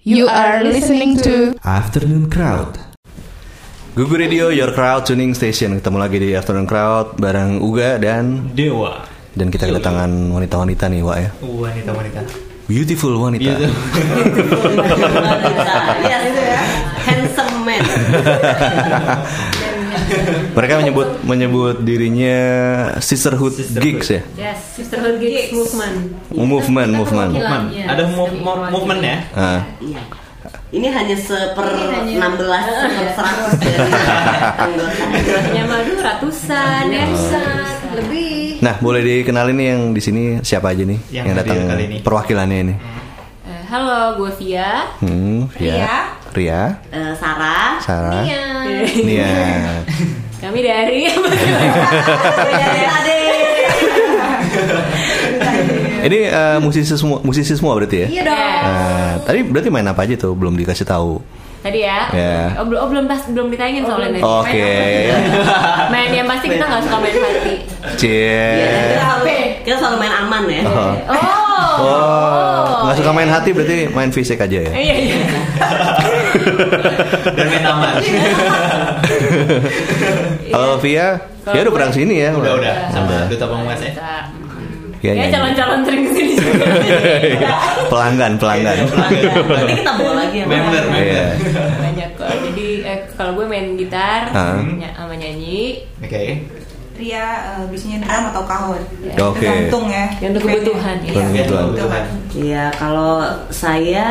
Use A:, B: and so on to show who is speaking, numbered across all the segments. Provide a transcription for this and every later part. A: You are listening to
B: Afternoon Crowd. Google Radio, Your Crowd Tuning Station. Ketemu lagi di Afternoon Crowd bareng Uga dan
C: Dewa
B: dan kita kedatangan wanita-wanita nih, Wak ya.
C: Wanita-wanita
B: Beautiful wanita.
D: Iya, gitu ya. Handsome man.
B: Mereka menyebut menyebut dirinya sisterhood, gigs ya.
D: Yes, sisterhood gigs movement.
B: Oh, Movement, movement.
C: Movement
E: Iya,
C: Ada mo-
E: sering
C: mo-
E: perwakilan.
C: movement ya
B: Ah,
D: Iya. Ini hanya Oh, iya. seper
E: Ini hanya-
D: 16 seper 100 dari anggota.
E: Hanya madu ratusan, ya.
A: Saat lebih
B: Nah, boleh dikenalin nih yang di sini siapa aja nih
C: Yang hadir
B: datang
C: kali ini.
B: perwakilannya ini.
E: Eh, Halo, gue Via.
B: Hmm, Ria, Ria,
D: Eh, Sarah,
B: Sarah,
A: Iya.
B: Nia.
E: Kami dari
D: Ada Ade.
B: Ini eh, musisi semua, musisi semua berarti ya.
A: Iya dong
B: Eh, tadi berarti main apa aja tuh? Belum dikasih tahu.
E: tadi ya.
B: Iya.
E: Oh, belum- oh, belum pas belum ditanyain soalnya.
B: Oke.
E: Main yang pasti kita nggak suka main hati.
B: Cie.
D: Kita Iya, selalu, kita selalu main aman ya.
E: Oh.
B: Oh. Oh, nggak suka main hati berarti main fisik aja ya.
E: Eh, Iya iya.
C: Dan main taman
B: Kalau Via, Via udah pernah sini ya.
C: Udah-udah
E: Iya.
B: Udah.
C: Sama Duta Pengmas ya
E: Kita-
B: Via
E: Ya
B: nyanyi.
E: calon-calon sering kesini. juga.
B: Iya, pelanggan, pelanggan.
D: Nanti kita bawa lagi ya.
C: Member
B: Iya.
C: Member
E: Banyak kok. Jadi eh, kalau gue main gitar,
B: Ah.
E: ny- sama nyanyi,
C: Oke
F: Ria eh, biasanya drum atau kahon.
B: Oke.
F: Tergantung ya.
E: Yang untuk kebutuhan, ya.
F: Iya,
B: Kebutuhan.
F: kebutuhan.
D: Iya, kalau saya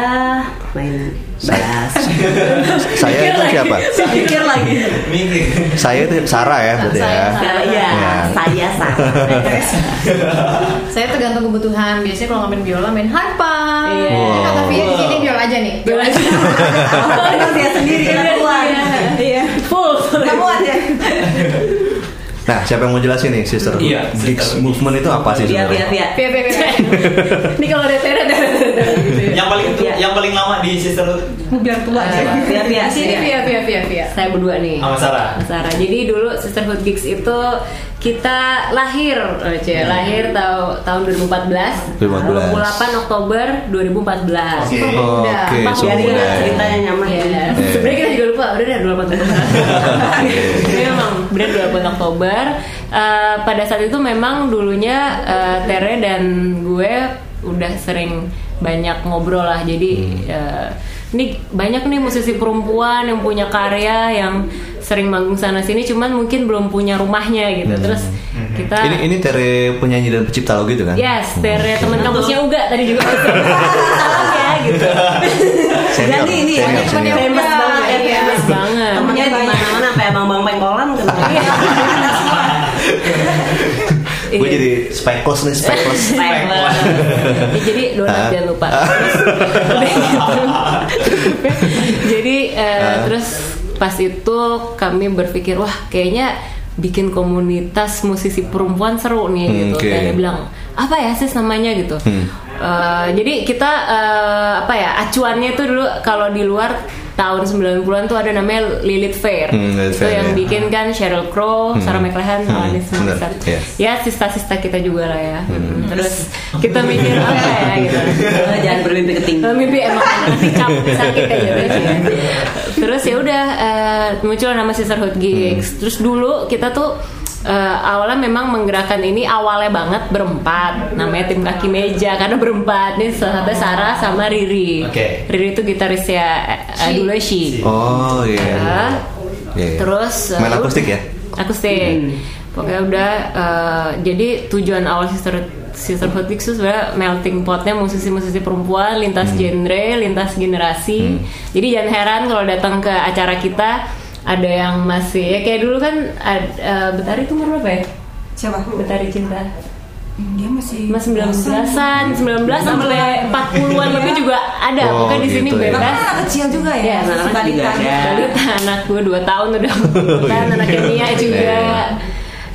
D: main bass.
B: Iya. Saya itu siapa?
D: Saya pikir lagi.
C: Mikir
B: Saya itu Sarah ya berarti ya.
E: Saya
D: Iya,
B: Iya.
D: saya Sarah.
A: Saya tergantung kebutuhan Biasanya kalau nggak main biola main harpa
E: Iya.
A: Ini
B: Wow.
A: Kata Via di sini biola aja nih
E: Biola aja.
D: Kalau saya Oh, sendiri yang keluar.
F: Iya.
E: full.
F: Kamu ada.
B: Nah, siapa yang mau jelasin nih, Sister?
C: Iya,
B: Gigs
C: sister.
B: movement itu apa sih
D: Iya, iya,
B: sebenarnya?
D: iya.
E: Via Via Via. Ini kalau ada teret gitu ya.
C: Yang paling itu
D: Iya.
C: Yang paling lama di sister
F: Mau bilang tua aja.
D: Iya, iya.
A: Di sini Via Via Via Via
E: saya berdua nih
C: Sama Sarah.
E: Sarah. jadi dulu Sisterhood Gigs itu kita lahir oh,
C: Iya.
E: cie, lahir tau, tahun 2014
B: 2014.
E: 28 Oktober 2014
C: Oke
B: Oke,
E: Udah.
B: so
D: Jadi
B: udah.
D: Iya, cerita yang nyaman.
E: Iya.
B: Eh.
E: Sebenarnya kita juga lupa udah deh 28 Oktober. Iya, Jadi memang benar 28 Oktober. Eh, pada saat itu memang dulunya eh, Tere dan gue udah sering banyak ngobrol lah. Jadi
B: Hmm.
E: eh, ini banyak nih musisi perempuan yang punya karya yang sering manggung sana sini cuman mungkin belum punya rumahnya gitu. Terus kita
B: Hmm. Ini ini Tere penyanyi dan pencipta lo gitu kan?
E: Yes, Tere teman kampusnya Uga tadi juga. Salam ya gitu.
B: Senior,
D: Jadi ini
B: senior,
D: ini
B: senior.
D: famous
A: Iya,
D: banget, ya,
A: iya.
D: famous banget.
E: Banget.
D: Temennya di mana-mana, sampai abang-abang pengkolan kenal.
B: Gue
E: Iya.
B: jadi speckles nih, speckles.
D: Iya. Famous.
E: Ya, jadi
B: Ah.
E: donat jangan lupa. Terus, udah gitu. jadi eh,
B: Ah.
E: terus pas itu kami berpikir wah kayaknya bikin komunitas musisi perempuan seru nih
B: Hmm,
E: gitu.
B: oke. Hmm.
E: Dan dia bilang apa ya sis namanya gitu. Eh, jadi kita eh, apa ya acuannya tuh dulu kalau di luar tahun 90-an tuh ada namanya Lilith Fair.
B: Hmm, Lilith
E: itu
B: Fair,
E: yang
B: ya.
E: bikin kan Sheryl Crow, Sarah McLachlan,
B: Hmm,
E: Alanis
B: bener,
E: Morissette.
B: iya.
E: Ya sista-sista kita juga lah ya. Terus kita mikir apa ya gitu.
D: Eh, Jangan bermimpi ketinggi.
E: Eh, Mimpi emang mimpi cap- sakit aja terus ya. Terus ya udah eh, muncul nama Sisterhood Gigs. Terus dulu kita tuh eh, awalnya memang menggerakkan ini awalnya banget berempat. Namanya tim kaki meja karena berempat nih salah satu Sarah sama Riri.
C: Oke.
E: Riri itu gitarisnya eh, eh, dulu Shi.
B: Oh iya.
E: Ya.
B: Iya, iya.
E: Terus eh,
B: main akustik ya? Iya.
E: Akustik. Pokoknya udah eh, jadi tujuan awal sister Sisterhood Gigs itu sebenarnya melting potnya musisi-musisi perempuan
B: Hmm.
E: lintas genre, lintas generasi. Jadi jangan heran kalau datang ke acara kita ada yang masih ya kayak dulu kan ad- eh, Betari itu umur berapa ya?
F: Siapa?
E: Betari cinta.
F: Hmm, Dia masih
E: Mas 19-an, 19 sampai 40-an lebih juga ada.
B: Oh,
E: Bukan di sini
B: gitu ya.
E: bebas.
F: Bahkan kan anak kecil juga
E: Iya,
F: ya.
D: anak-anak juga
F: Sebalikan.
D: ada.
E: Balita anak gue 2 tahun udah kan anaknya Nia juga.
B: Oh, Iya.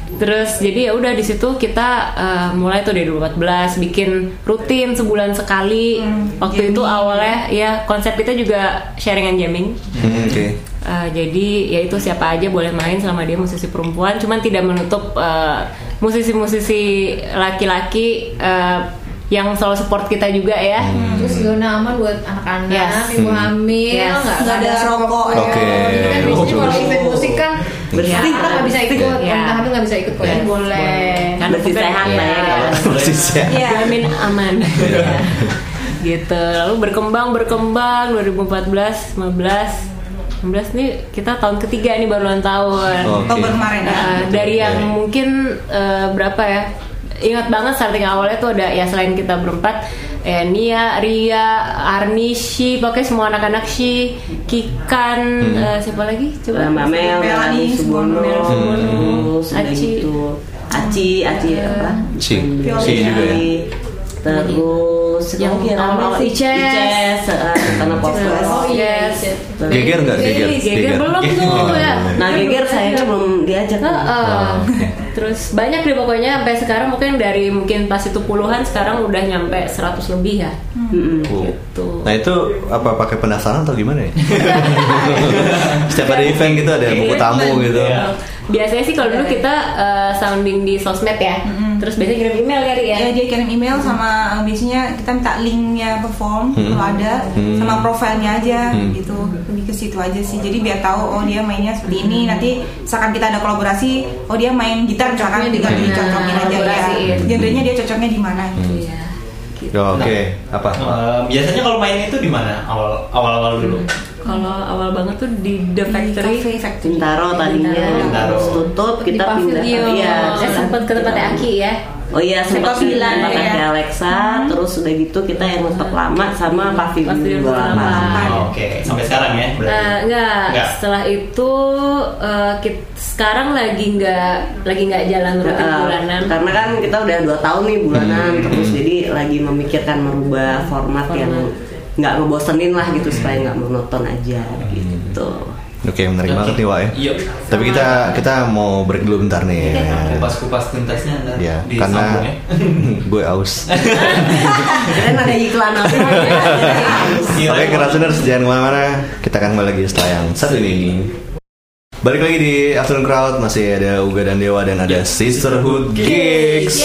E: Terus jadi ya udah di situ kita eh, mulai tuh dari 2014 bikin rutin sebulan sekali.
D: Hmm,
E: Waktu itu awalnya ya konsep kita juga sharing and jamming.
B: Hmm, Oke.
E: Eh, jadi ya itu siapa aja boleh main selama dia musisi perempuan, cuman tidak menutup eh, musisi-musisi laki-laki eh, yang selalu support kita juga ya.
B: Hmm.
A: Terus zona aman buat anak-anak,
E: Yes.
A: ibu hamil,
E: Yes.
A: nggak
F: Nggak ada rokok ya.
B: Oke.
A: Jadi kan biasanya
B: Bagus.
A: kalau event musik kan
D: Bersih.
A: anak nggak bisa ikut,
E: Iya.
A: anak hamil nggak bisa ikut, kalau
E: Yes.
A: ini boleh.
E: Kan
D: Bersih
E: bukan-
D: sehat lah ya.
E: Iya.
B: Persis ya.
F: Iya.
E: Jamin aman.
B: Iya.
E: gitu. Lalu berkembang berkembang 2014, 15, 16 nih kita tahun ketiga nih baru ulang tahun.
B: Oke.
F: Oktober kemarin ya.
E: Nah, dari yang
B: Oke.
E: mungkin eh, berapa ya? Ingat banget starting awalnya tuh ada ya selain kita berempat eh, Nia, Ria, Arni, Shi, pokoknya semua anak-anak Shi, Kikan, eh, siapa lagi? Coba
D: Mbak Mel,
F: Melani,
D: Melani Subono,
F: Mel
B: Hmm. Subono,
D: terus udah
E: Aci.
D: gitu. Aci, Aci apa?
B: Ci.
D: Violi.
B: Ci juga ya.
D: Terus
E: Yang
D: siapa lagi
E: awal-awal
D: sih?
E: Ices.
D: Ices, eh, karena
E: E
D: Popers.
A: Oh iya,
E: Yes.
A: iya.
D: Terus-
B: Geger nggak geger? Iya.
E: Geger belum tuh ya.
D: Nah, Geger sayangnya belum diajak.
E: Heeh.
B: Oh, oke.
E: Terus banyak deh pokoknya sampai sekarang mungkin dari mungkin pas itu puluhan sekarang udah nyampe 100 lebih ya.
D: Mm-mm.
B: Wow.
E: Gitu.
B: Nah itu apa pakai pendaftaran atau gimana ya? Setiap ada event gitu ada buku tamu gitu.
C: Iya.
E: Biasanya sih kalau
F: Iya,
E: dulu kita eh, sounding di sosmed ya. Terus biasanya kirim email kali ya.
F: Ya, dia kirim email sama eh, biasanya kita minta linknya perform
B: Hmm.
F: kalau ada
B: Hmm.
F: sama profilnya aja
B: Hmm.
F: gitu lebih ke situ aja sih jadi biar tahu oh dia mainnya seperti ini nanti misalkan kita ada kolaborasi oh dia main gitar misalkan
A: Cocoknya di
F: tinggal
A: mana,
F: dicocokin aja ya
A: kolaborasiin.
F: genrenya dia cocoknya di mana
B: Hmm.
F: gitu.
E: Iya. gitu.
B: Ya, Oke, apa?
C: Eh, biasanya kalau main itu di mana awal awal awal dulu
E: Kalau awal banget tuh di The
F: Di
E: Factory.
F: cafe factory
D: Cintaro tadinya
C: Cintaro.
D: terus tutup
A: Di
D: kita pindah
A: pavilion.
D: iya
E: Eh, sempat ke tempatnya Aki iya. ya.
D: Oh iya sempat
F: Sepak
D: pindah
F: bola,
D: tempat
F: ya.
D: ke Alexa terus udah gitu kita yang tetap lama sama Pavilion
E: Hmm. Pavilion
D: 28.
E: Lama.
C: Oh, oke sampai sekarang ya berarti
E: Nah, enggak.
C: Enggak.
E: Setelah itu eh, kit- sekarang lagi enggak lagi enggak jalan rutin
D: Eh,
E: bulanan. Hmm.
D: karena kan kita udah dua tahun nih bulanan terus jadi lagi memikirkan merubah format, yang nggak ngebosenin lah gitu supaya nggak monoton aja
E: Hmm.
D: gitu.
B: Oke, menarik
C: Oke.
B: banget nih Wak ya.
C: Iya.
B: Tapi kita kita mau break dulu bentar nih.
C: kupas kupas tuntasnya ntar
B: Ya,
C: di
B: karena
C: sambung ya.
B: gue aus.
D: Keren ada iklan apa?
C: Iya.
B: Oke, Kerastuners jangan kemana-mana. Kita akan kembali lagi setelah yang satu ini. Balik lagi di Afternoon Crowd masih ada Uga dan Dewa dan ada Sisterhood Gigs.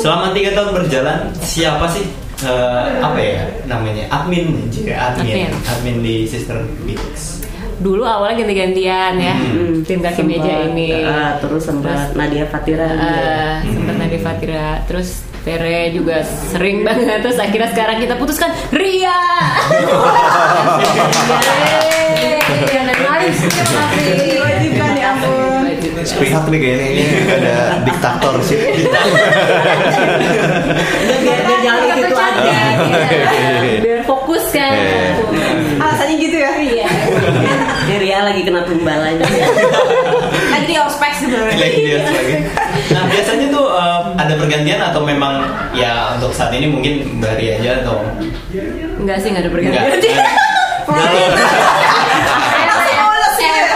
C: Selama tiga tahun berjalan, siapa sih eh, apa ya namanya admin aja admin
E: Admin.
C: admin di Sister Bix.
E: Dulu awalnya ganti-gantian ya. Tim kaki meja ini.
D: Eh, terus sempat Nadia
B: Iya.
D: Fatira Iya. juga.
E: Eh, sempat Nadia Fatira terus Tere juga sering banget terus akhirnya sekarang kita putuskan Ria
A: Yeay,
E: Iya,
A: yang lain sih, terima kasih.
F: diwajibkan ya ampun
B: Sepihak nih kayaknya ini ada diktatorship.
D: Udah, biar dia jalan
A: Kata
D: gitu aja.
A: cantik, ya.
E: biar fokus kan
B: Eh.
F: alasannya gitu ya
E: Iya.
D: Ini Ria lagi kena tumbalannya.
F: tadi di ospek sebenarnya
C: Lagi dia lagi. Nah biasanya tuh eh, ada pergantian atau memang ya untuk saat ini mungkin dari aja atau
E: enggak sih enggak ada
C: enggak?
E: pergantian
F: enak sih mulus
A: Iya.
F: ya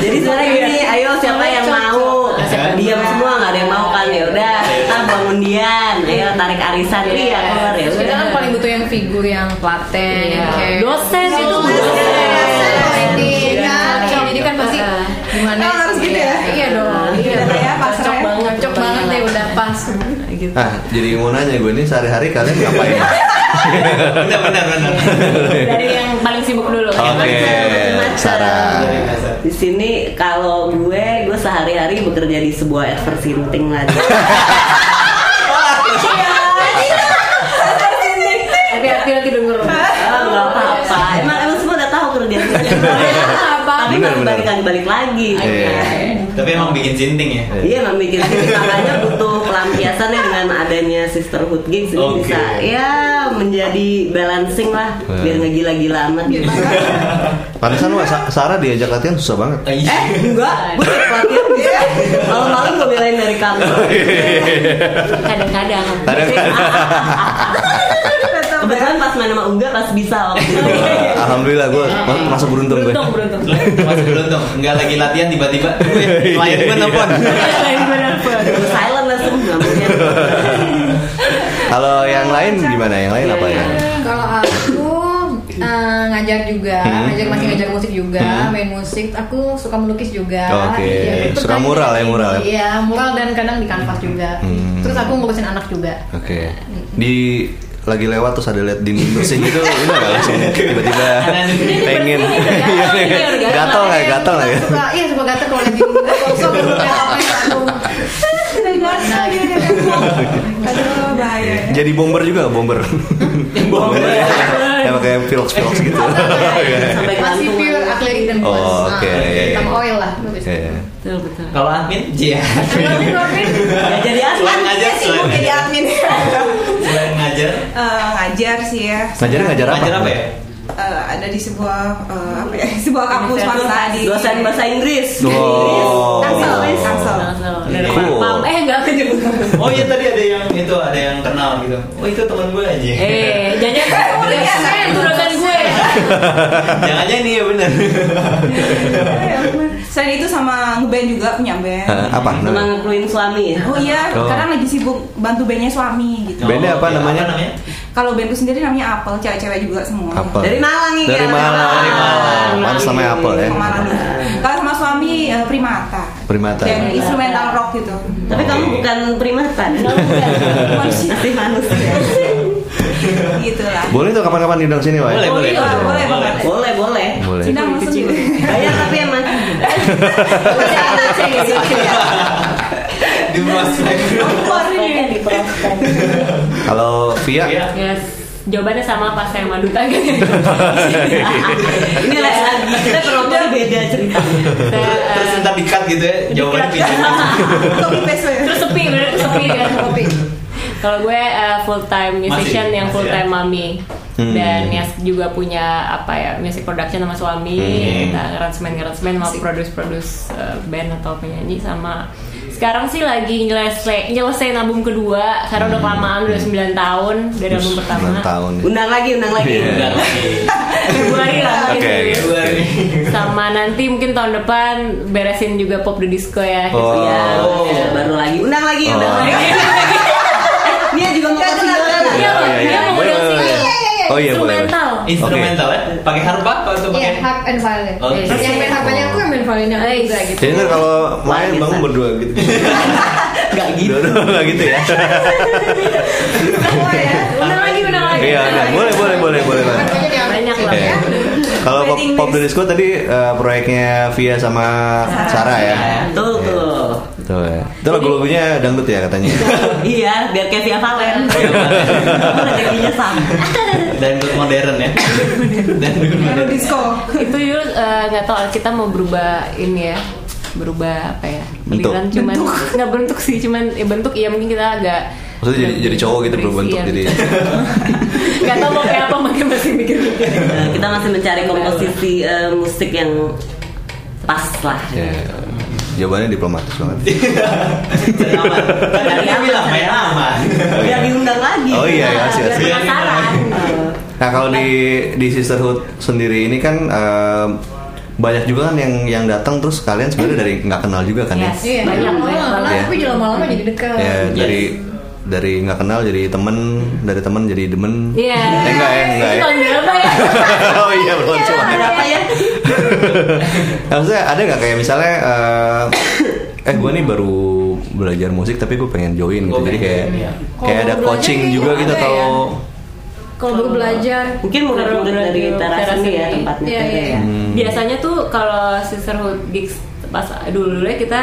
D: Jadi sebenarnya gini, ayo siapa yang mau?
A: Iya.
C: Cocok.
D: Diam semua nggak ada yang mau kan ya udah. Kita bangun Dian, ayo tarik arisan Ria keluar ya
A: Iya. Kita
D: udah.
A: kan paling butuh yang figur yang platen,
E: Iya.
A: yang kayak-
E: Dosen itu
A: dosen,
E: dosen.
A: dosen, dosen.
F: Iya.
A: Cocok. Jadi kan pasti
E: Ah.
A: gimana?
F: Oh, harus
A: sih,
F: gitu ya?
A: Iya dong.
F: Iya, ya, pas
A: Cocok
F: ya.
A: banget, cocok banget deh udah pas.
E: gitu
B: Nah, jadi mau nanya gue nih sehari-hari kalian ngapain?
C: Benar benar benar.
E: dari yang paling sibuk dulu
B: Oke, Sarah.
C: Dari dasar.
D: Di sini kalau gue, gue sehari-hari bekerja di sebuah advertising lagi.
E: hati-hati nanti denger
D: Oh, nggak apa-apa. Emang emang semua udah tahu kerjaan gue.
A: Iya.
E: apa
D: Tapi
B: Bener,
D: baru
B: bener.
D: balik-balik lagi. Nah,
B: Iya.
C: Tapi emang bikin sinting ya.
D: Iya emang bikin sendiri makanya butuh pelampiasan ya dengan adanya sisterhood gigs ini
C: Oke.
D: bisa ya menjadi balancing lah
B: Hmm.
D: biar nggak gila-gila amat gitu.
B: Pantesan Wak, Sa- Sarah diajak latihan susah banget.
C: Eh, iya.
D: Enggak, gue tiap pelatihan bisa. Malam-malam gue belain dari kantor.
E: kadang-kadang
B: Nah.
D: ah. Kebetulan pas main sama Uga pas bisa
B: Oh,
D: waktu itu.
B: Wah, Alhamdulillah gue masuk beruntung gue.
E: beruntung beruntung
C: Masih beruntung, nggak lagi latihan tiba-tiba "Wih, klien gue nelfon.
E: Lain bener banget.
D: Gue silent langsung nggak mungkin.
B: Kalau yang lain gimana? Yang lain apa ya?
A: Kalau aku eh, nggak ngajak juga,
B: Hmm.
A: ngajak masih ngajak musik juga,
B: Hmm.
A: main musik. Aku suka melukis juga.
B: Oke.
A: Iya, gitu.
B: Suka mural ya, mural ya?
A: Iya, mural dan kadang di kanvas juga.
B: Hmm.
A: Terus aku ngurusin anak juga.
B: Oke. Di lagi lewat terus ada lihat dinding bersih gitu, ini nggak langsung tiba-tiba pengen Iya, gatel
A: Iya.
B: nggak gatel nggak ya?
A: Suka, iya suka gatel kalau lagi kosong udah apa yang aku.
F: Sudah gatal dia dia gatal. Aduh bahaya.
B: Jadi bomber juga nggak, bomber. bomber ya. Ya pakai pilox pilox gitu.
D: iya, sampai
A: Masih
D: gantung
A: pure
D: aja.
A: acrylic dan
B: Oh,
A: gloss.
B: oke,
A: Ah,
B: iya, iya.
A: Sama oil lah. lukis.
B: Iya.
E: betul betul
C: Kalau admin, iya.
A: Tapi Robin,
D: Ya, jadi asli
C: Selain
F: Iya
C: ngajar,
F: sih mau
C: selain
F: jadi
C: ngajar.
F: admin.
C: Selain ngajar,
F: Eh, ngajar sih ya.
B: Ngajar ngajar apa?
C: ngajar apa ya?
F: Eh, ada di sebuah eh, apa ya? Sebuah kampus
E: Dosen-
F: swasta di
D: dosen bahasa Inggris
B: Oh.
F: Tangsel, Tangsel.
E: Tangsel. Dari
B: Cool.
E: Pam- eh nggak aku nyebut
C: Oh iya tadi ada yang itu ada yang kenal gitu. Oh itu teman gue aja.
E: eh jangan
F: Oh,
E: jangan
F: iya,
E: jangan
F: saya
E: juragan gue
C: Jangan jangan ini ya bener.
F: Oh, ya Selain itu sama ngeband juga punya
B: Eh,
F: band.
B: apa?
D: sama ngekluin suami ya
F: Oh iya,
B: Oh.
F: sekarang lagi sibuk bantu bandnya suami gitu.
B: Bandnya apa
C: iya,
B: namanya?
F: Kalau bandku sendiri namanya Apple, cewek-cewek juga semua.
B: Apa?
D: dari Malang nih
B: Dari
D: kan?
B: Malang, dari Malang. Pantes namanya Apple ya.
F: Kemana dulu? Iya, Kalau sama suami eh, Primata.
B: Primata. ya.
F: Yang instrumental rock gitu.
D: tapi kamu bukan primata
F: Manusia.
D: masih manusia
F: gitu lah.
B: Boleh tuh kapan-kapan diundang sini, Wak.
C: Boleh, boleh,
F: Boleh, boleh, boleh.
C: boleh.
D: boleh boleh
B: Boleh.
F: Cina langsung gitu.
D: bayar tapi emang Masih ada sih, gitu.
C: Di prospek.
B: Ya.
D: Prospeknya di prospek.
B: Kalau Via,
C: Iya.
E: yes jawabannya sama pas saya madu tangan
D: ini
B: Iya.
D: lah kita penontonnya beda ceritanya
E: eh,
C: Terus ntar dikat gitu ya. Jawabannya pinjam.
F: Kopi peso ya.
E: terus sepi bener sepi kan sepi kalau gue eh, full time musician
C: Masih,
E: yang full
C: masih ya?
E: time mami
B: Hmm.
E: dan ya juga punya apa ya music production sama suami
C: Hmm.
E: kita aransemen aransemen mau produce produce eh, band atau penyanyi sama sekarang sih lagi nyelesai nyelesain album kedua karena udah
C: Hmm.
E: kelamaan udah 9 tahun dari album pertama
B: 9 tahun ya.
D: undang lagi undang lagi
B: Iya.
C: Udah lagi.
E: Februari lah gitu. mungkin.
B: Oke, oke.
C: Dua nih.
E: sama nanti mungkin tahun depan beresin juga pop the disco ya
B: Oh.
D: Iya, iya, baru lagi undang lagi undang
B: Oh.
D: lagi Eh, Nia juga mau kasih
E: Iya,
B: Oh, iya, iya.
E: dia mau
B: Boleh,
E: model
B: boleh,
E: single.
B: boleh. Oh iya, boleh. boleh.
E: instrumental
C: Instrumental ya? Pakai harpa atau
A: Iya,
C: pakai?
A: harp and violin.
C: Oh,
A: Yes.
C: terus-
A: Yang main harpanya aku yang main violinnya aku juga gitu.
B: Jadi ntar kalau main
D: Wah,
B: bangun
D: biasa.
B: berdua gitu.
D: nggak gitu
B: Dua-dua nggak gitu ya.
F: Semua ya.
E: Undang lagi, undang lagi. Nah,
B: Iya, iya. boleh, boleh, boleh, boleh. Bang.
A: Harpanya di atas.
E: Banyak lah.
B: Oke.
E: Ya.
B: Kalau pop,
F: Wedding
B: pop
F: list.
B: the disco tadi eh, proyeknya Via sama Sarah ya.
D: tuh tuh
B: Tuh ya. Itu lagu-lagunya dangdut ya katanya.
D: iya biar kayak Via Valen
B: Iya.
D: rezekinya sama
C: Dan ikut modern ya. Dan ikut
F: Baru
C: modern.
F: disco.
E: itu yuk eh, nggak tahu kita mau berubah ini ya berubah apa ya
B: Bentuk.
E: Bilang cuman nggak bentuk sih cuman ya bentuk iya mungkin kita agak iya,
B: Maksudnya jadi, jadi cowok gitu berbentuk
E: ya.
B: jadi.
E: nggak tahu mau kayak apa makanya masih mikir
D: Eh, kita masih mencari komposisi eh, musik yang pas lah
B: Ya. Jawabannya diplomatis banget.
C: Main aman. Kan tadi dia bilang main aman.
D: biar diundang lagi
B: Oh iya, iya, asik,
D: Biar
B: asik.
D: penasaran Eh,
B: Nah kalau di di sisterhood sendiri ini kan eh, banyak juga kan yang yang datang terus kalian sebenarnya dari nggak kenal juga kan ya?
E: Yes.
A: Iya, banyak
E: Banyak, banyak
A: lama-lama
B: banget.
A: tapi lama-lama jadi dekat.
B: Ya dari dari nggak kenal jadi temen dari temen jadi demen.
E: Iya.
B: Eh, enggak ya enggak
E: Itu
B: ya.
E: tahun berapa ya?
B: oh iya belum cuma.
D: berapa ya
B: Nah, Maksudnya ada nggak kayak misalnya eh, eh gue nih baru belajar musik tapi gue pengen join gitu
C: Gua
B: jadi kayak
C: pengen join, ya.
B: kayak
A: Kalau
B: ada
A: belajar
B: coaching
A: kayaknya
B: juga gitu
A: ada
B: atau
A: Kalau baru belajar,
D: mungkin murid-murid dari teras ini ya tempatnya
A: Iya,
D: Tere
A: iya.
D: ya
B: Hmm.
E: Biasanya tuh kalau sisterhood gigs pas dulu ya kita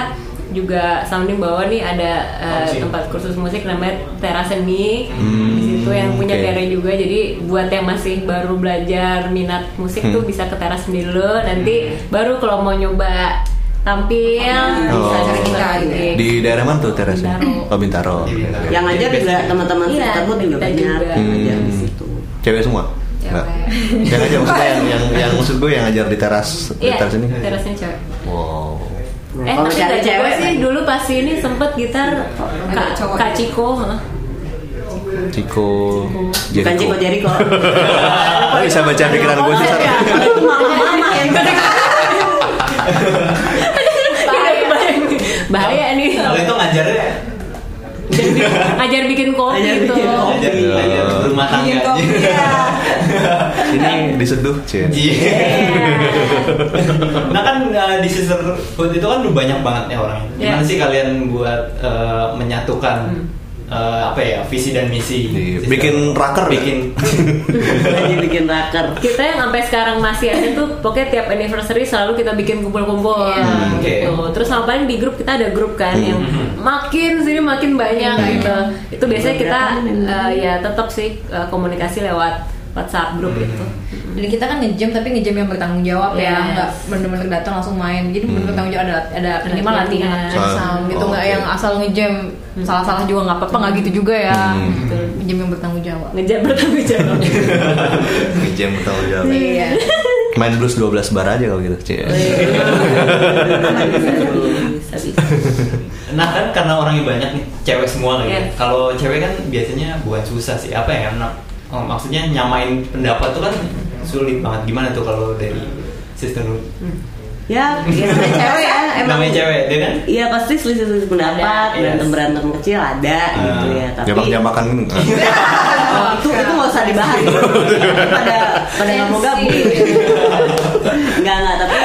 E: juga sounding bahwa nih ada eh,
C: Sounding.
E: tempat kursus musik namanya teras seni di situ yang punya
B: Hmm, oke.
E: Tere juga jadi buat yang masih baru belajar minat musik tuh
B: Hmm.
E: bisa ke teras seni dulu nanti baru kalau mau nyoba tampil bisa gitu
B: Oh.
E: juga gigs.
B: di daerah mana tuh terasnya?
E: Bintaro.
B: Oh Bintaro.
C: Di Bintaro.
B: Oke.
D: yang ngajar juga teman-teman
E: Iya,
D: sisterhood juga
E: kita
D: banyak
E: juga.
D: yang ngajar di
B: Hmm.
D: situ
B: Cewek semua?
E: Cewek.
B: Nggak? Yang aja maksudnya yang, yang, yang maksud gue yang ngajar di teras di
E: Iya,
B: teras ya? ini.
E: teras seni cewek.
B: Wow.
D: Nah,
E: Eh
D: kalau
E: tapi gak
D: cari cewek
E: cewek sih dulu pasti ini sempet gitar Kak,
F: cowok.
E: Kak Ciko huh?
B: Ciko
D: bukan Ciko Jericho
B: Lo bisa baca pikiran gue sih Sar.
D: Ya, kalau itu ya. mama-mama
E: Iya,
D: yang
E: Bahaya. Bahaya nih
C: Kalau itu ya. ngajarnya
E: Ngajar bikin- Ngajar bikin kopi gitu.
D: Ngajar
E: itu
D: bikin kopi.
C: gitu. ngajar
B: Iya.
C: ngajar rumah
F: Bikin
C: tangga.
F: kopi ya.
B: Ini disentuh cie
C: Iya.
E: Iya.
C: nah kan eh, di sisterhood itu kan udah banyak banget ya orangnya. Gimana
E: Iya.
C: sih kalian buat eh, menyatukan eh, apa ya visi dan misi?
B: Iya,
C: sisterhood?
B: bikin raker nggak?
C: bikin.
D: lagi bikin raker
E: kita yang sampai sekarang masih ada tuh pokoknya tiap anniversary selalu kita bikin kumpul-kumpul
C: Hmm, oke.
E: gitu. Terus sama paling di grup kita ada grup kan yang makin sini makin banyak gitu. Itu biasanya kita eh, ya tetap sih eh, komunikasi lewat WhatsApp grup itu.
A: Jadi kita kan ngejam tapi ngejam yang bertanggung jawab ya,
E: Yes.
A: nggak benar-benar datang langsung main. Jadi benar-benar bertanggung jawab ada ada minimal
E: latihan.
A: latihan sound gitu Hmm.
B: Oh,
A: nggak
B: oke.
A: yang asal ngejam salah-salah juga nggak apa-apa nggak gitu juga ya.
B: Hmm.
A: Gitu. Ngejam yang bertanggung jawab.
E: Ngejar bertanggung jawab.
B: Iya. jam bertanggung jawab
A: Iya.
B: ya, main blues 12 bar aja kalau gitu cie
D: Bisa,
E: iya,
D: bisa.
C: Nah kan karena orangnya banyak nih, cewek semua lagi.
E: Iya.
C: Kalau cewek kan biasanya bukan susah sih. Apa ya? Nah, oh, maksudnya nyamain pendapat tuh kan sulit banget. Gimana tuh kalau dari sisterhood?
D: ya biasanya cewek ya emang
C: Namanya cewek, dia kan?
D: Iya pasti
E: Ada,
D: selisih-selisih
E: iya.
D: pendapat,
C: yes.
D: berantem-berantem kecil ada
C: Ah.
D: gitu ya. Tapi
B: jambak-jambakan Nah, gitu.
D: Oh, itu itu nggak usah dibahas. pada pada nggak mau gabung. Nggak nggak tapi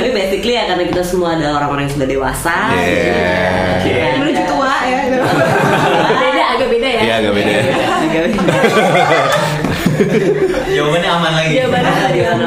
D: tapi basically ya karena kita semua adalah orang-orang yang sudah dewasa. Iya.
B: Yeah.
D: Kita
C: Yeah.
D: ada-
F: menuju tua ya
E: beda agak beda ya.
B: Iya agak beda.
C: Jawabannya aman lagi.
E: Jawabannya
D: Ada di mana.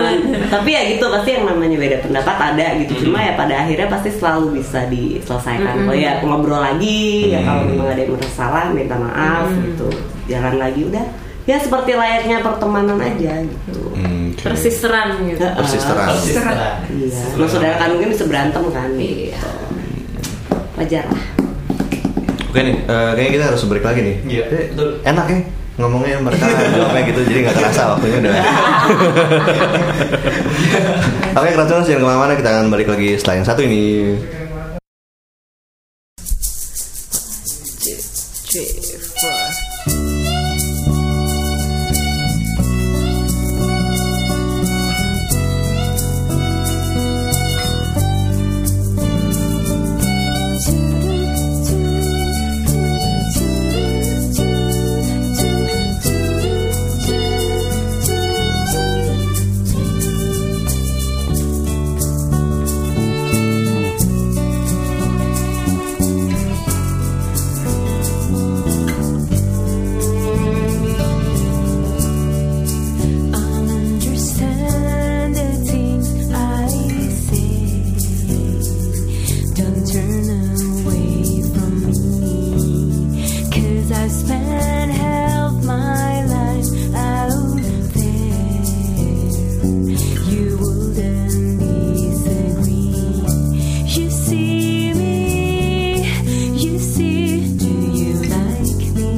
D: tapi ya gitu pasti yang namanya beda pendapat ada gitu cuma ya pada akhirnya pasti selalu bisa diselesaikan
F: Hmm.
D: kalau ya ngobrol lagi ya kalau memang ada yang merasa salah minta maaf
F: Hmm.
D: gitu jalan lagi udah ya seperti layaknya pertemanan aja gitu
B: Hmm, oke. Ya.
E: Persisteran gitu.
D: Heeh.
B: Persisteran.
C: Kalau sisteran.
D: iya Lo saudara kan mungkin bisa berantem kan gitu wajar lah
B: Oke nih, eh, kayaknya kita harus break lagi nih.
C: Iya, betul.
B: Enak ya ngomongnya mereka jawabnya gitu jadi nggak terasa waktunya udah. Oke, keracunan jangan kemana-mana kita akan balik lagi setelah yang satu ini.
G: Understand the things I say. Don't turn away from me. Cause I've spent half my life out there. You wouldn't disagree. You see me, you see. Do you like me?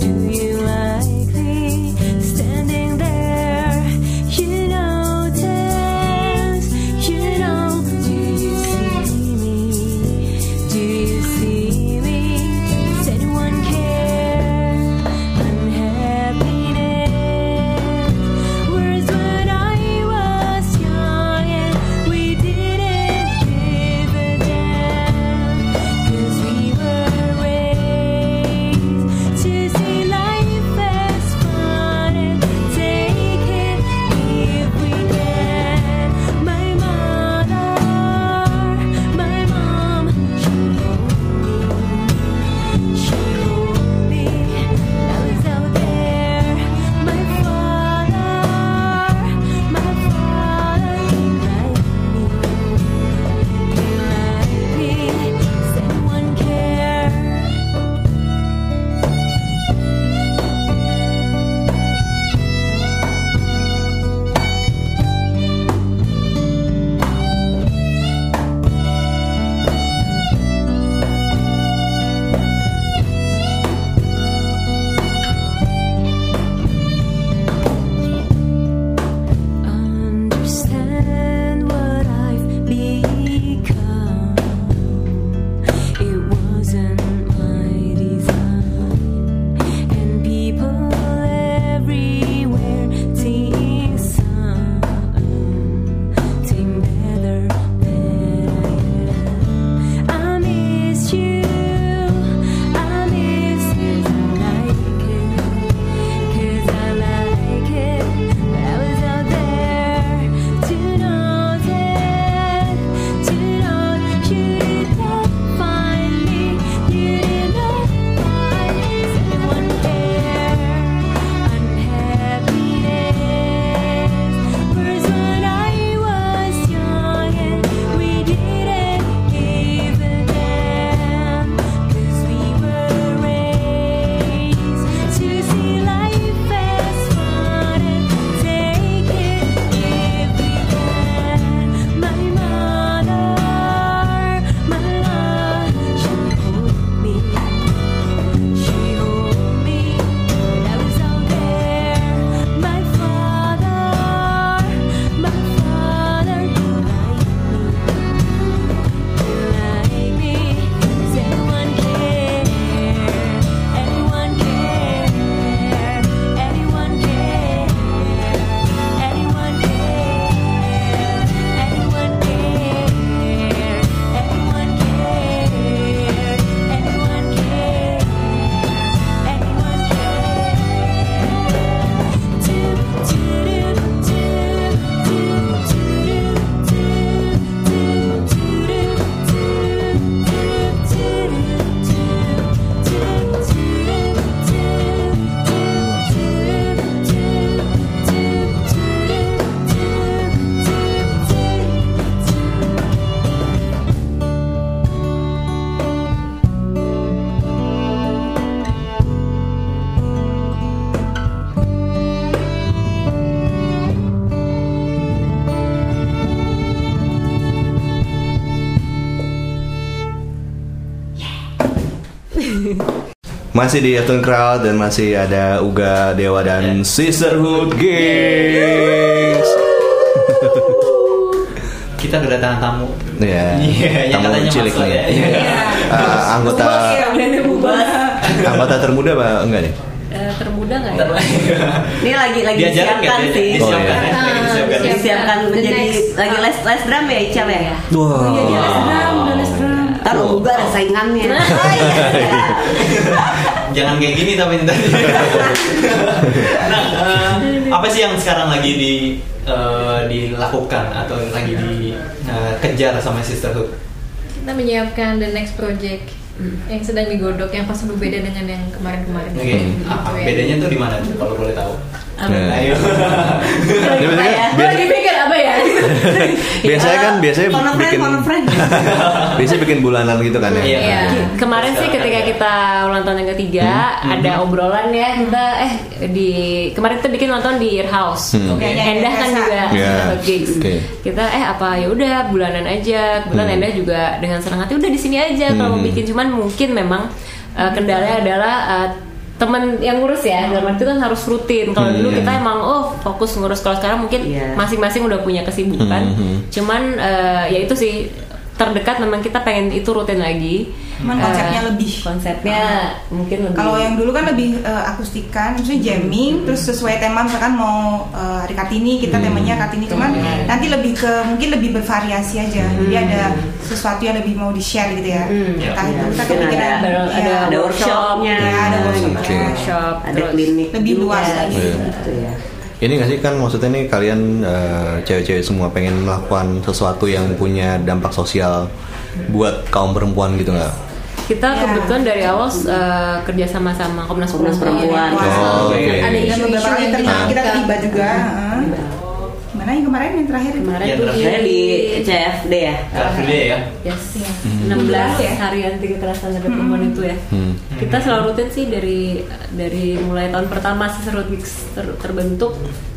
G: Do you like me? Standing there, you notice, you know. Do you see me? Do you see me? Does anyone care? Unhappiness. Words when I was young.
B: Masih di Afternoon Crowd dan masih ada Uga Dewa
C: Eh.
B: dan Sisterhood Gigs.
C: Kita kedatangan tamu.
B: Iya.
C: Iya, yang
B: Tamu
C: katanya
B: cilik
C: masuk
B: nih.
C: ya. Iya.
B: Eh, anggota
F: iya, Bubar.
B: anggota termuda apa enggak nih?
E: Eh, termuda nggak ya?
D: Ini lagi lagi
C: Diajarin
D: disiapkan
C: kan?
D: sih.
B: Oh, iya.
C: Disiapkan. ya?
A: Ah,
C: Disiapkan.
A: siap.
D: Disiapkan
A: The
D: menjadi
A: next.
D: lagi les les drum ya Ical ya.
F: Oh.
B: Wow.
D: Taruh juga ada saingannya. Oh, iya.
C: Jangan kayak gini tapi ntar. nah, eh, apa sih yang sekarang lagi di eh, dilakukan atau lagi dikejar sama sisterhood?
A: Kita menyiapkan the next project yang sedang digodok yang pasti berbeda dengan yang kemarin-kemarin.
C: Oke,
D: Hmm.
A: Gitu
C: apa
A: ya.
C: bedanya tuh di mana tuh kalau boleh tahu?
B: Nah.
D: Eh.
C: Ayo.
B: Ini biasanya kan-
A: Gue lagi mikir ya? apa ya?
B: biasanya kan biasanya
D: Phone a Iya. friend,
B: bikin
D: phone a friend.
B: biasanya bikin bulanan gitu kan ya.
A: Iya.
E: Kemarin sih ketika kita ulang tahun yang ketiga
B: Hmm.
E: ada obrolan ya kita eh di kemarin kita bikin nonton di Ear House.
B: Hmm.
E: Oke, Endah kan
F: Biasa.
E: juga
B: Iya.
E: dapat gigs.
B: Oke.
E: Kita eh apa ya udah bulanan aja. Kebetulan
B: Hmm.
E: Endah juga dengan senang hati udah di sini aja kalau mau
B: Hmm.
E: bikin cuman mungkin memang eh, kendalanya adalah eh, temen yang ngurus ya dalam arti kan harus rutin kalau dulu
B: Hmm.
E: kita emang oh fokus ngurus kalau sekarang mungkin
D: Iya.
E: masing-masing udah punya kesibukan
B: Hmm.
E: cuman eh, ya itu sih terdekat memang kita pengen itu rutin lagi
F: Cuman
E: Eh,
F: konsepnya lebih. Ah.
E: konsepnya mungkin lebih
F: Kalau yang dulu kan lebih eh, akustikan, maksudnya jamming, terus sesuai tema misalkan mau eh, hari Kartini kita temanya Kartini cuman nanti lebih ke mungkin lebih bervariasi aja. Jadi ada sesuatu yang lebih mau di-share gitu ya.
E: Hmm.
D: Iya.
F: Entah itu kita
D: Mungkin
F: kepikiran
D: ada-
E: baru-
F: iya,
E: ada-
D: Ada workshopnya.
F: ya,
C: Hmm,
F: ada workshop.
B: Oke.
E: workshop
D: Ada
E: terus
D: klinik
F: Lebih
D: juga,
F: luas lagi.
C: Iya.
D: Gitu ya.
B: Ini nggak sih kan maksudnya nih kalian eh, cewek-cewek semua pengen melakukan sesuatu yang punya dampak sosial buat kaum perempuan gitu nggak?
E: kita
F: Ya.
E: kebetulan dari awal eh, kerja sama sama Komnas
D: Komnas Perempuan.
F: Perempuan.
B: Oh, oke.
A: Ada
F: Dan
A: isu-isu
F: beberapa kali
A: yang
F: terlibat, kita
A: diangkat.
F: terlibat juga. heeh. Mana yang kemarin yang terakhir?
D: Iya,
E: kemarin
C: Yang
E: tuh
C: terakhir
D: Saya di
E: Iya.
D: CFD ya.
C: Karena ya.
E: yes
F: Iya.
E: 16
F: Ya.
E: hari anti kekerasan terhadap perempuan itu ya
B: Hmm.
E: kita selalu rutin sih dari dari mulai tahun pertama sih Serut Gigs ter- terbentuk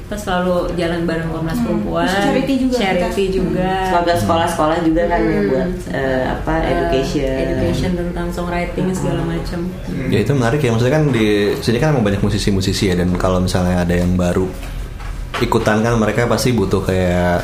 E: kita selalu jalan bareng Komnas Perempuan
F: Hmm. Terus charity juga
E: charity
F: kita.
E: juga
D: Semoga sekolah-sekolah juga kan ya
E: Hmm.
D: buat eh, apa
E: Eh,
D: education.
E: education tentang songwriting segala macam
B: Ya itu menarik ya maksudnya kan di sini kan emang banyak musisi-musisi ya dan kalau misalnya ada yang baru ikutan kan mereka pasti butuh kayak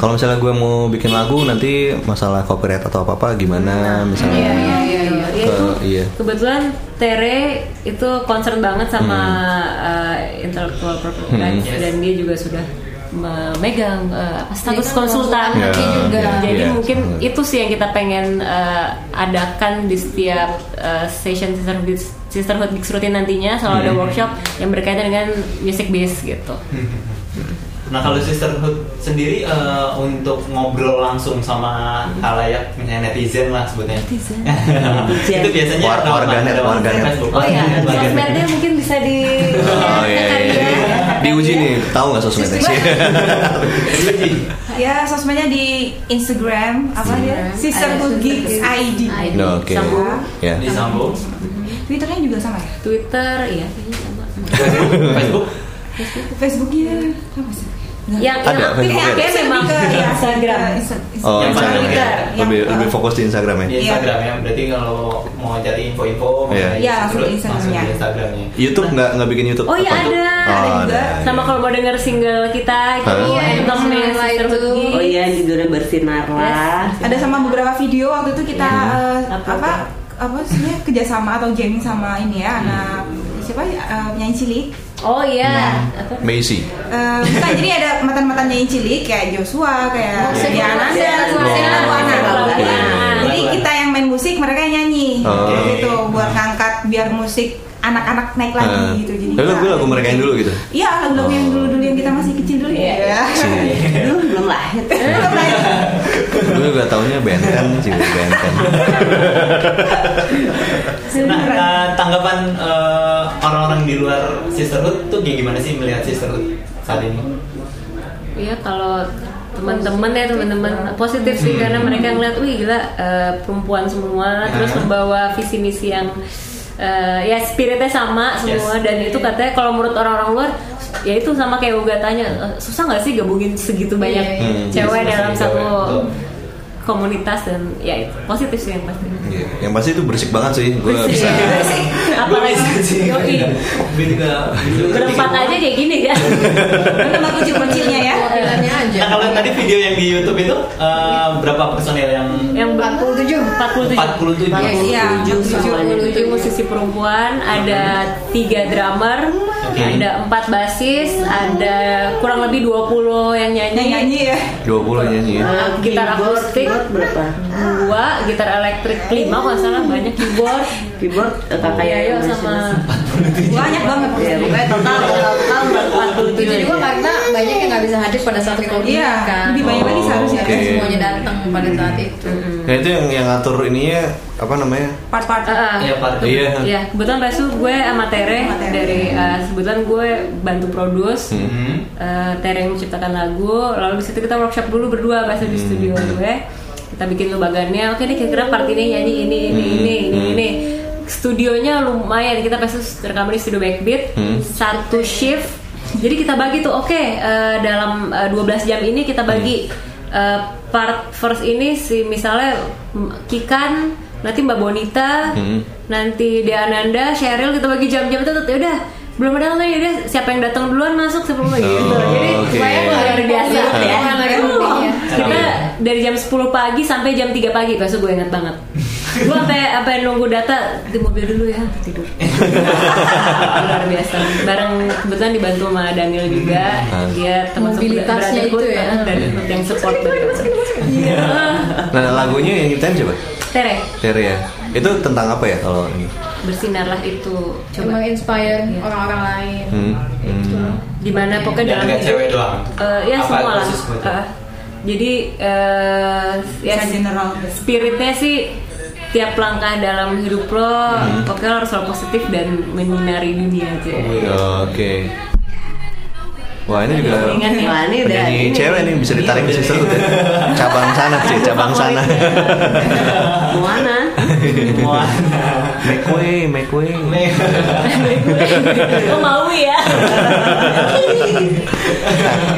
B: kalau misalnya gue mau bikin lagu nanti masalah copyright atau apa apa gimana misalnya
A: Iya, iya, iya, iya.
E: Ya, itu
B: Ke- iya.
E: kebetulan Tere itu concern banget sama
B: Hmm.
E: uh, intellectual property rights
C: Yes.
E: dan dia juga sudah memegang uh, apa, status
A: Dia kan
E: konsultan
A: konsultan
B: Ya, juga. ya,
E: jadi
B: ya.
E: mungkin
B: Hmm.
E: itu sih yang kita pengen uh, adakan di setiap uh, session sisterhood sisterhood Geeks rutin nantinya selalu
B: Hmm.
E: ada workshop yang berkaitan dengan music based gitu
C: Nah kalau sisterhood sendiri eh, untuk ngobrol langsung sama halayak misalnya netizen lah sebutnya.
D: Netizen.
C: itu biasanya
B: War-
C: nama-
B: warganet,
C: nama-
B: warganet.
C: Facebook. Iya.
E: oh ya
C: Warganet.
E: sosmednya mungkin bisa di
B: Oh iya, iya, iya. diuji nih tahu nggak sosmednya sih
F: Ya, sosmednya di Instagram apa dia? Sisterhood Gigs ID.
B: No, oke
E: Sambung.
B: ya
C: Disambung.
F: Twitternya juga sama ya?
E: Twitter iya kayaknya sama
C: Facebook.
F: Facebooknya apa ya? sih? Nah.
E: yang
B: Ada,
E: yang aktif Ya. yang
B: ya? Facebook ada.
E: aktif memang
F: Lebih ke- ya,
E: Instagram
F: ke Insta- Insta-
B: oh
C: Yang
B: Instagram
C: paling
B: ya.
C: dekat.
B: lebih
F: Yang- eh,
B: lebih fokus di Instagram ya
C: Di
F: Iya.
C: Instagram ya. Berarti kalau mau cari info-info
B: Iya.
C: mengenai
F: Iya, langsung
C: sisterhood,
F: di Instagram,
C: langsung di
F: ya.
C: Instagramnya.
B: YouTube nggak nggak bikin YouTube
E: Oh iya
B: Apa tuh?
E: ada,
B: Oh,
F: ada juga.
E: sama kalau mau denger single kita itu
B: Halo.
E: iya, Anthem
A: Iya,
E: Sisterhood
A: itu.
E: Gigs.
D: Oh iya judulnya bersinarlah.
F: Ada sama beberapa video waktu itu kita eh,
E: Apa-
F: apa apa sih kerjasama atau jamming sama ini ya anak siapa ya eh, penyanyi cilik
E: Oh iya, apa?
B: Macy
F: Eh, bukan jadi ada mantan-mantan nyanyi cilik kayak Joshua kayak
A: Maksudnya
F: Diana
A: Maksudnya
F: Maksudnya
A: Maksudnya
F: Labuana.
D: Labuana.
F: jadi kita yang main musik mereka yang nyanyi
B: Oh.
F: gitu buat ngangkat biar musik anak-anak naik lagi
B: Eh,
F: gitu jadi
B: tapi
F: kita-
B: gue lagu mereka yang dulu gitu
F: Iya, lagu-lagu yang dulu-dulu yang kita masih kecil dulu ya.
D: Aduh, belum lahir.
B: gue juga taunya Benten sih Benten
C: Nah, eh, tanggapan eh, orang-orang di luar sisterhood tuh kayak gimana sih melihat sisterhood saat ini?
E: Iya kalau teman-teman ya teman-teman positif sih karena
C: Hmm.
E: mereka ngeliat wih gila eh, perempuan semua
C: Ya.
E: terus membawa visi misi yang eh, ya spiritnya sama semua
C: Yes.
E: dan itu katanya kalau menurut orang-orang luar ya itu sama kayak Uga tanya "Eh, susah nggak sih gabungin segitu banyak
A: Iya, iya.
E: cewek
C: Iya,
E: dalam
C: iya,
E: satu
C: cewek, betul.
E: komunitas dan ya itu positif sih yang pasti.
B: Iya, Yang pasti itu berisik banget sih. Gue
E: Berisik.
B: bisa.
E: Apa lagi? Yoi.
C: Gue juga
E: Berempat aja kayak gini kan.
F: Nama kucing-kucingnya ya.
A: Perwakilannya aja.
C: Nah kalau tadi video yang di YouTube itu eh, berapa personil yang
E: Yang ber-
A: 47.
E: 47.
C: 47.
F: Iya,
E: 47 semuanya.
A: 47.
E: 7 musisi perempuan, ada tiga drummer,
C: Oke.
E: ada empat basis, ada kurang lebih 20 yang nyanyi.
F: Nyanyi-nyanyi ya.
B: 20 nyanyi ya.
E: Eh, gitar
D: Keyboard-
E: akustik
D: keyboard berapa?
E: dua, gitar elektrik lima kalau nggak salah banyak keyboard.
D: Keyboard eh,
A: Iya,
D: kakak
E: Yayo
D: Yayo
E: sama
F: Banyak banget.
D: Ya,
E: Iya.
D: pokoknya total total berempat puluh
A: Itu juga karena banyak yang nggak bisa hadir pada saat recording
F: Iya,
A: kan.
F: lebih banyak lagi
B: Oh,
F: seharusnya. Iya.
B: oke.
A: Semuanya datang pada saat itu.
B: Nah itu yang yang ngatur ininya apa namanya?
F: Part-part.
E: Eh, eh,
C: Iya, Pak.
B: Iya.
E: Iya, kebetulan Resu gue sama Tere
F: Sama Tere.
E: dari eh, sebutan gue bantu produce.
B: Hmm.
E: Eh, Tere yang menciptakan lagu, lalu di situ kita workshop dulu berdua pas
B: Hmm.
E: di studio gue. Kita bikin lubagannya, oke nih kira-kira part ini nyanyi ini ini
B: Hmm.
E: ini ini
B: Hmm.
E: ini. Studionya lumayan, kita pas itu rekam di studio Backbeat
B: Hmm.
E: satu shift. Jadi kita bagi tuh oke eh, dalam eh, 12 jam ini kita bagi
B: Hmm.
E: eh, part first ini si misalnya mm, Kikan, nanti Mbak Bonita,
B: Hmm.
E: nanti Deananda, Cheryl kita bagi jam-jam itu tuh ya udah belum ada nih udah siapa yang datang duluan masuk sebelum lagi gitu.
B: Oh,
E: Jadi
B: oke.
E: supaya luar biasa
A: Iya.
E: ya.
A: Lagi penting ya.
E: Kita dari jam 10 pagi sampai jam 3 pagi, pas itu gue inget banget. gue sampai apa nunggu data di mobil dulu ya tidur. luar biasa. Bareng kebetulan dibantu sama Daniel juga.
B: Hmm.
E: Dia teman
A: Mobilitasnya
E: seberada ikut,
A: itu ya.
E: eh, Dan ikut yang support banget. Iya.
B: Nah lagunya yang kita coba
E: Tere,
B: Tere ya. Itu tentang apa ya kalau ini?
E: bersinarlah itu
A: Emang
E: coba.
A: inspire
E: Iya.
A: orang-orang lain.
B: Hmm.
A: Itu.
B: Hmm.
A: Iya.
E: Dimana pokoknya
C: Dan
E: dalam
C: nggak
E: hidup-
C: cewek doang.
E: Eh, ya
C: Apa
E: semua lah.
C: khusus buat-
E: Eh, jadi eh, ya
F: Bisa general.
E: spiritnya sih tiap langkah dalam hidup lo, pokoknya lo harus selalu positif dan menyinari dunia aja.
B: Oke. Wah ini juga
E: Ringan ya.
D: Wah, ini udah
B: penyanyi
D: ini.
B: cewek nih bisa ditarik ke situ. Cabang sana sih, cabang sana.
D: Moana.
C: Semua.
B: Make way, make way.
E: Lo mau ya?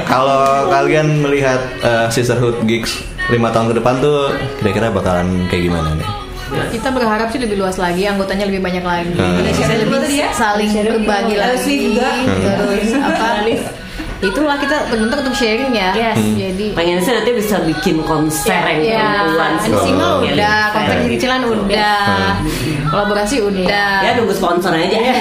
B: Kalau kalian melihat eh, Sisterhood Gigs lima tahun ke depan tuh kira-kira bakalan kayak gimana nih?
A: Kita berharap sih lebih luas lagi, anggotanya lebih banyak lagi.
B: Hmm.
A: Kita bisa lebih
F: Tadi ya?
A: saling berbagi
F: Ada
A: lagi.
F: Swift juga.
A: Terus apa? Itulah kita bentuk untuk sharing ya.
E: Yes. Hmm.
A: Jadi
D: Pengen sih nanti bisa bikin konser
A: Iya,
D: yang perempuan Iya,
A: ada single
D: semuanya.
A: udah,
D: Konser.
A: konten
B: Iya.
A: kecilan udah,
B: Hmm.
A: kolaborasi udah.
D: Ya nunggu sponsor aja.
A: Iya.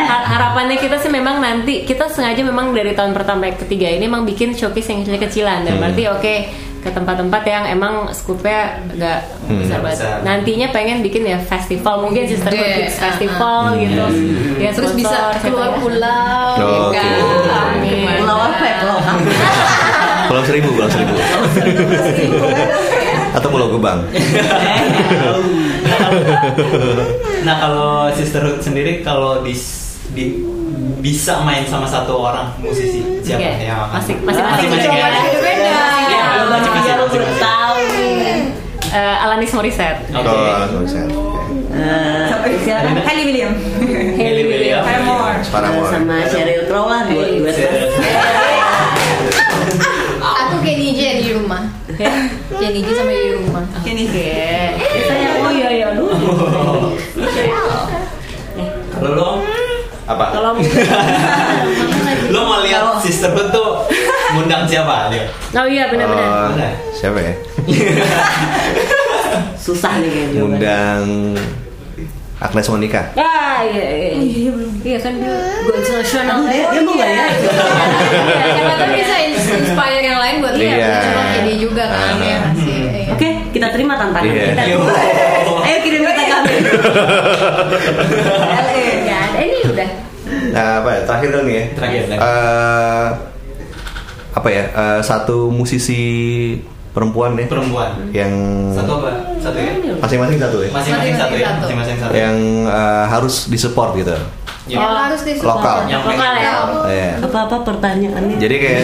E: Har- harapannya kita sih memang nanti kita sengaja memang dari tahun pertama ke ketiga ini emang bikin showcase yang kecil-kecilan dan berarti oke ke tempat-tempat yang emang scoopnya nggak besar banget.
C: Besar.
E: Nantinya pengen bikin ya festival mungkin sister
A: Iya,
E: Kids
A: ah,
E: festival gitu. Ya
A: Terus
E: sponsor,
A: bisa
E: siapa
A: keluar
E: ya.
A: pulau,
B: Oke.
A: ya kan?
E: Oke.
A: Gimana?
D: Pulau apa ya? Pulau apa?
B: Iya, Pulau Seribu, Pulau Seribu. Atau Pulau Gebang.
C: nah kalau sisterhood sendiri kalau di, di- bisa main sama satu orang musisi siapa
E: Oke.
C: yang akan-
E: Masing- masing-masing
C: Masing-masing
E: coba
C: ya?
A: beda-beda.
E: Ya, lo
D: Iya, masih
C: masih-
D: lo
C: masih-
D: belum tahu.
E: Eh, Alanis Morissette.
C: Oke.
B: Kalau alat konser.
D: Eh, siapa?
F: Hailey William.
C: Hailey Williams.
F: Paramore.
B: Paramore.
D: Eh, sama Sheryl Crow lah dua dua
B: Iya.
C: Serius.
A: Aku kayak DJ di rumah.
E: Ya.
A: Kayak DJ sama di rumah.
F: Ini
E: Saya oh iya iya aduh.
C: Kalau lo
B: Apa?
E: Kalau
C: lo mau lihat sisterhood tuh ngundang siapa? Leo?
E: Oh iya benar-benar.
B: Eh, siapa
C: Iya,
B: ya?
D: susah nih kayaknya.
B: Ngundang Agnes Monica.
E: Ah iya iya. Iya belum. Iya kan dia Iya, go international.
D: Dia dia mau nggak ya?
A: Iya. Siapa tahu bisa ins- inspire yang lain buat dia.
B: Iya.
A: Cuma ini juga kan
B: Ah.
A: ya masih. iya.
D: Oke, kita terima tantangan
B: Iya.
D: kita.
C: Yo.
A: Eh.
D: Ayo kirim kita kami.
E: Ya, ini udah.
B: Nah, apa ya? Terakhir dong nih ya.
C: Terakhir, terakhir.
B: Eh, apa ya? Eh, satu musisi perempuan ya.
C: Perempuan.
B: Yang
C: Satu apa? Satu ya?
B: masing-masing satu ya.
C: Masing-masing satu ya? Masing-masing satu.
B: Yang eh, harus disupport gitu.
C: Ya.
A: Yang harus di
B: Lokal.
C: Yang
E: Lokal ya.
B: Iya.
D: Apa-apa pertanyaannya?
B: Jadi kayak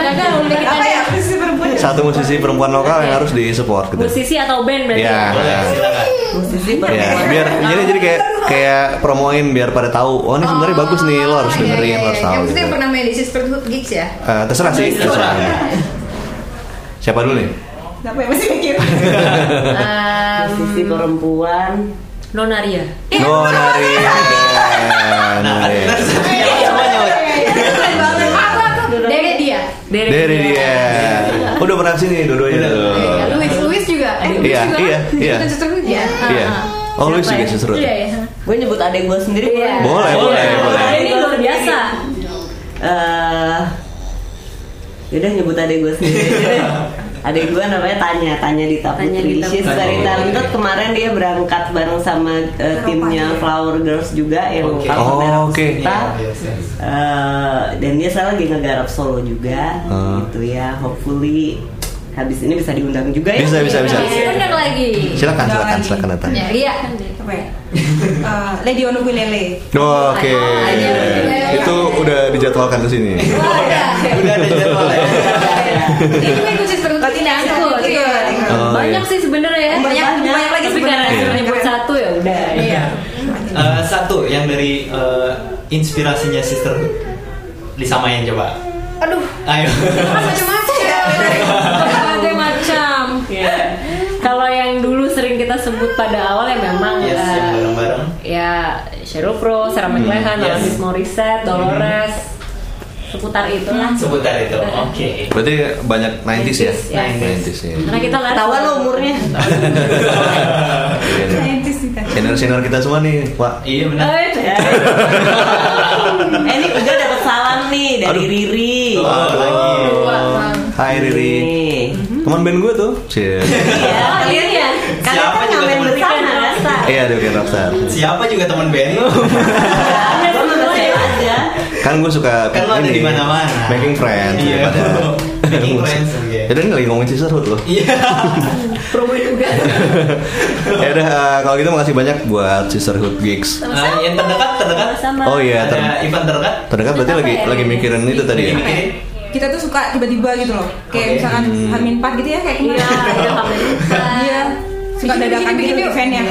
E: Siapa tahu udah kita
F: ya? Apa
E: ada
F: ya? Aku sih perempuan.
B: satu musisi perempuan lokal yang harus disupport gitu.
E: musisi atau band berarti.
B: Iya.
C: Boleh, silakan. Nah,
D: Musisi
B: Iya,
D: perempuan.
B: biar jadi jadi kayak kayak promoin biar pada tahu. Oh ini sebenarnya bagus nih lo harus
A: iya,
B: dengerin
A: iya, iya.
B: lo harus tahu.
A: Yang maksudnya
B: gitu.
A: pernah main di Sister Hood Gigs ya?
B: Eh, terserah sih, terserah. Siapa dulu nih?
F: Kenapa ya masih mikir?
D: Iya. Musisi perempuan
E: Nonaria.
A: Iya.
B: Oh, Nari.
C: Nah,
B: Nari.
C: ada
E: Iya,
C: satunya
F: Iya,
C: semuanya.
A: Keren banget. Apa tuh? Dari dia.
B: Eh. Dari dia. Udah pernah sini dua-duanya.
A: Iya, Luis, Luis juga. Eh, Luis
B: Iya,
A: juga
B: iya,
A: kan?
B: iya.
A: Bukan Sister Hood ya?
B: Iya. Oh, Luis juga seru.
A: Iya, iya.
D: gue nyebut adek gue sendiri
A: Iya.
D: boleh
B: Boleh, boleh, boleh.
E: Ini luar biasa.
D: Eh, yaudah nyebut adek gue sendiri aja deh. adek gue namanya Tanya Tanya Dita
E: Tanya
D: Putri
E: Dita
D: She's
C: Putri.
D: very
C: Oh,
D: talented
C: oke.
D: kemarin dia berangkat bareng sama eh, timnya Flower Girls juga yang
C: Oke. Iya,
D: cover
B: Oh,
D: Merah
B: oke.
D: Puspita.
C: Yes, yes.
D: Eh, dan dia sekarang lagi ngegarap solo juga
B: Hmm.
D: gitu ya hopefully habis ini bisa diundang juga ya
B: Bisa, bisa, bisa.
E: Undang lagi.
B: Silakan, silakan, silakan Nata.
A: Ya, iya.
F: Apa ya? Eh, Lady on Ukulele.
B: Oh, Oke. Itu udah dijadwalkan ke sini.
A: Wah, udah.
C: Udah ada jadwal ya.
A: Ini main ke Sister Hood ini aku.
F: Ikut,
A: Iya.
F: ikut.
B: Oh,
E: banyak
B: iya.
E: sih sebenarnya ya.
F: Banyak, banyak
E: Tapi
F: lagi
E: karena
F: sebenarnya.
E: cuma nyebut
F: Keren.
E: satu ya udah.
A: Iya.
C: Eh, satu yang dari eh, inspirasinya sister disamain coba.
A: Aduh,
C: Ayo.
A: macam-macam
E: Iya,
A: ya.
F: Iya,
E: Berbagai macam. Ya. Kalau yang dulu sering kita sebut pada awal ya memang
C: Yes,
E: eh,
C: yang
B: iya.
C: bareng-bareng.
E: ya Sheryl Crow, Sarah McLachlan,
C: yes.
E: Alanis Morissette, Dolores, seputar itu lah.
C: Seputar itu. Oke.
B: Berarti banyak 90s ya?
E: 90s, ya.
B: 90s ya.
E: Karena kita nggak
D: ketahuan lo umurnya
B: Iya, nih.
F: Scientist kan. kita.
B: Senior-senior kita semua nih, Pak.
C: Iya benar.
E: Eh,
D: Ya. eh ini udah dapat salam nih dari
B: Aduh.
D: Riri
C: Oh, lagi.
B: Hai Riri.
D: Nih.
B: Teman band gue tuh. Cie.
E: Oh,
D: Iya, kalian
E: iya.
D: kalian
C: Siapa
D: kan
C: juga
D: ngamen
C: temen
E: kita?
D: bersama Rasa.
B: Iya, dia bikin rockstar.
C: Siapa juga teman band lu?
D: Iya, gua nggak kecewa aja.
B: Kan gue suka
C: Kan lo ada di mana-mana.
B: Making friends.
C: Iya.
B: daripada-
C: Making friends, iya.
B: Ya dan lagi ngomongin sisterhood loh.
C: Iya.
E: promo juga.
B: ya udah eh, kalau gitu makasih banyak buat sisterhood gigs.
C: Eh, yang terdekat terdekat.
E: Sama-sama.
B: Oh iya, ter-
C: Ada event terdekat.
B: terdekat berarti lagi lagi mikirin itu tadi ya.
C: Mikirin.
F: Kita tuh suka tiba-tiba gitu loh.
C: Oke.
F: Kayak misalkan
B: Hmm.
F: Hamin 4 gitu ya
E: Iya,
F: kayak kemarin.
E: ada kamen.
F: Iya. Suka
A: Bikin,
F: dadakan
A: bikin,
F: gitu
A: bikin,
F: eventnya.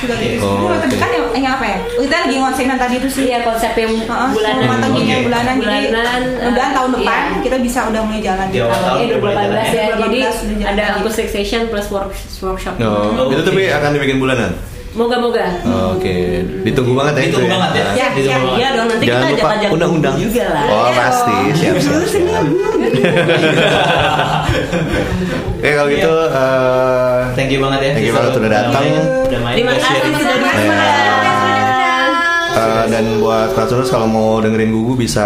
F: Suka gitu.
B: Oh, oke.
F: Cuma terdekat yang- yang apa ya? Kita lagi ngonsenan tadi itu sih.
E: Iya konsep yang
F: Heeh,
E: bulanan.
F: bulanan,
C: Oke.
F: bulanan, jadi
E: Bulanan, eh,
F: mudahan tahun depan
E: iya.
F: kita bisa udah mulai jalan.
C: Di
E: Eh,
C: awal tahun udah mulai
E: 2018 ya,
C: jalan
F: ya.
E: jadi
F: 2018 udah jalan
E: ada
F: lagi.
E: acoustic session plus work- workshop.
B: Oh, itu tapi akan dibikin bulanan.
E: Moga-moga.
B: Oke, ditunggu banget ya
C: Hmm. Ditunggu
B: itu
C: banget ya.
F: Iya,
C: Ditunggu
F: iya,
C: banget.
D: Iya dong, nanti
B: Jangan
D: kita
B: lupa
D: ajak-ajak
B: undang-undang.
D: juga lah.
B: Oh pasti
C: Iya.
B: siap siap. siap. Oke kalau gitu eh,
C: Thank you banget ya.
B: Thank you banget udah datang.
C: Udah main.
D: Terima
C: udah
D: kasih
C: sharing.
D: sudah
B: ya, eh, dan buat Kratuners kalau mau dengerin Gugu bisa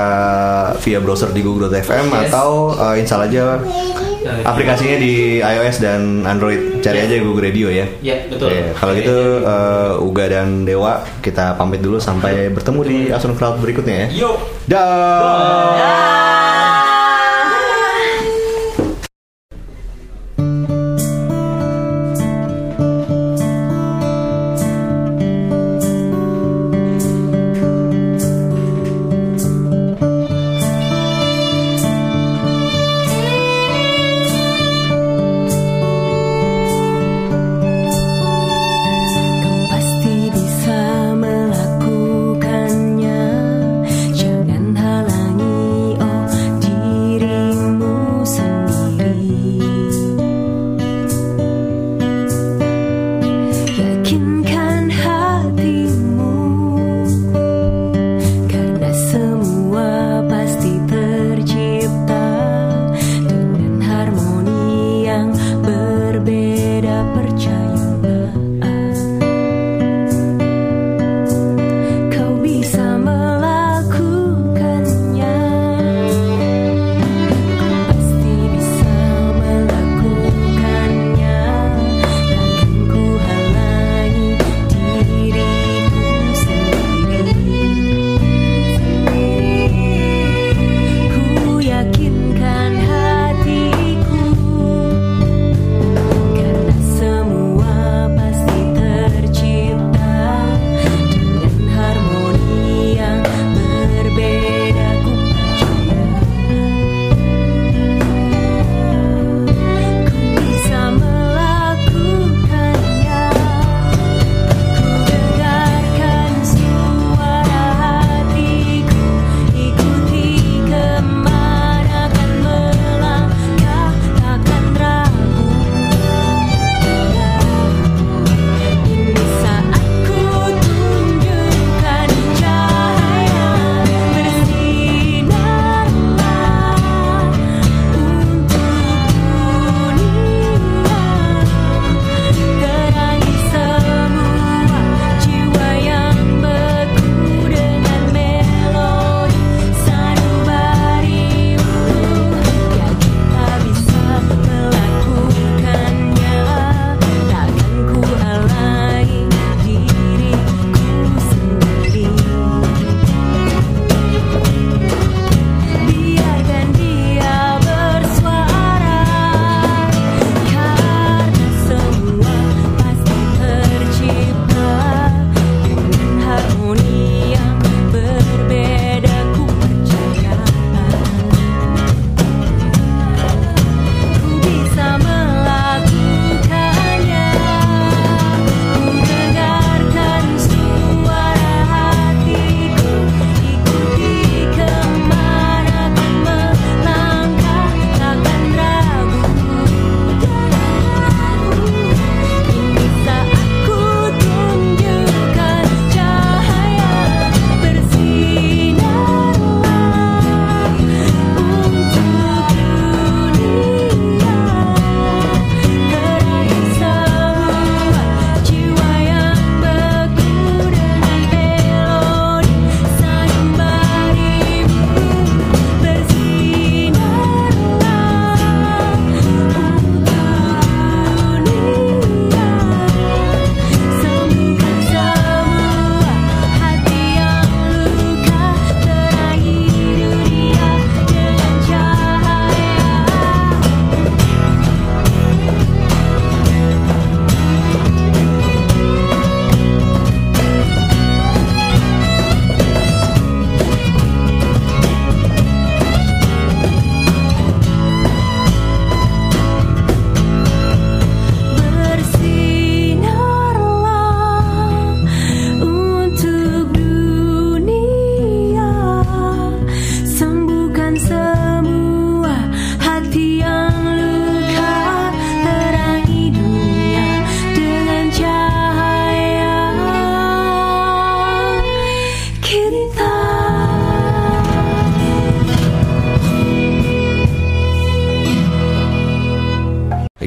B: via browser di gugu.fm
C: Yes.
B: atau eh, install aja
C: Eh,
B: aplikasinya di iOS dan Android. Cari aja Gugu Radio ya.
C: Iya, betul.
B: Iya, kalau gitu eh, Uga dan Dewa kita pamit dulu sampai bertemu di Asun Crowd berikutnya ya.
C: Yo.
B: Dah.
G: Kau pasti bisa melakukannya, jangan halangi. Oh Ya,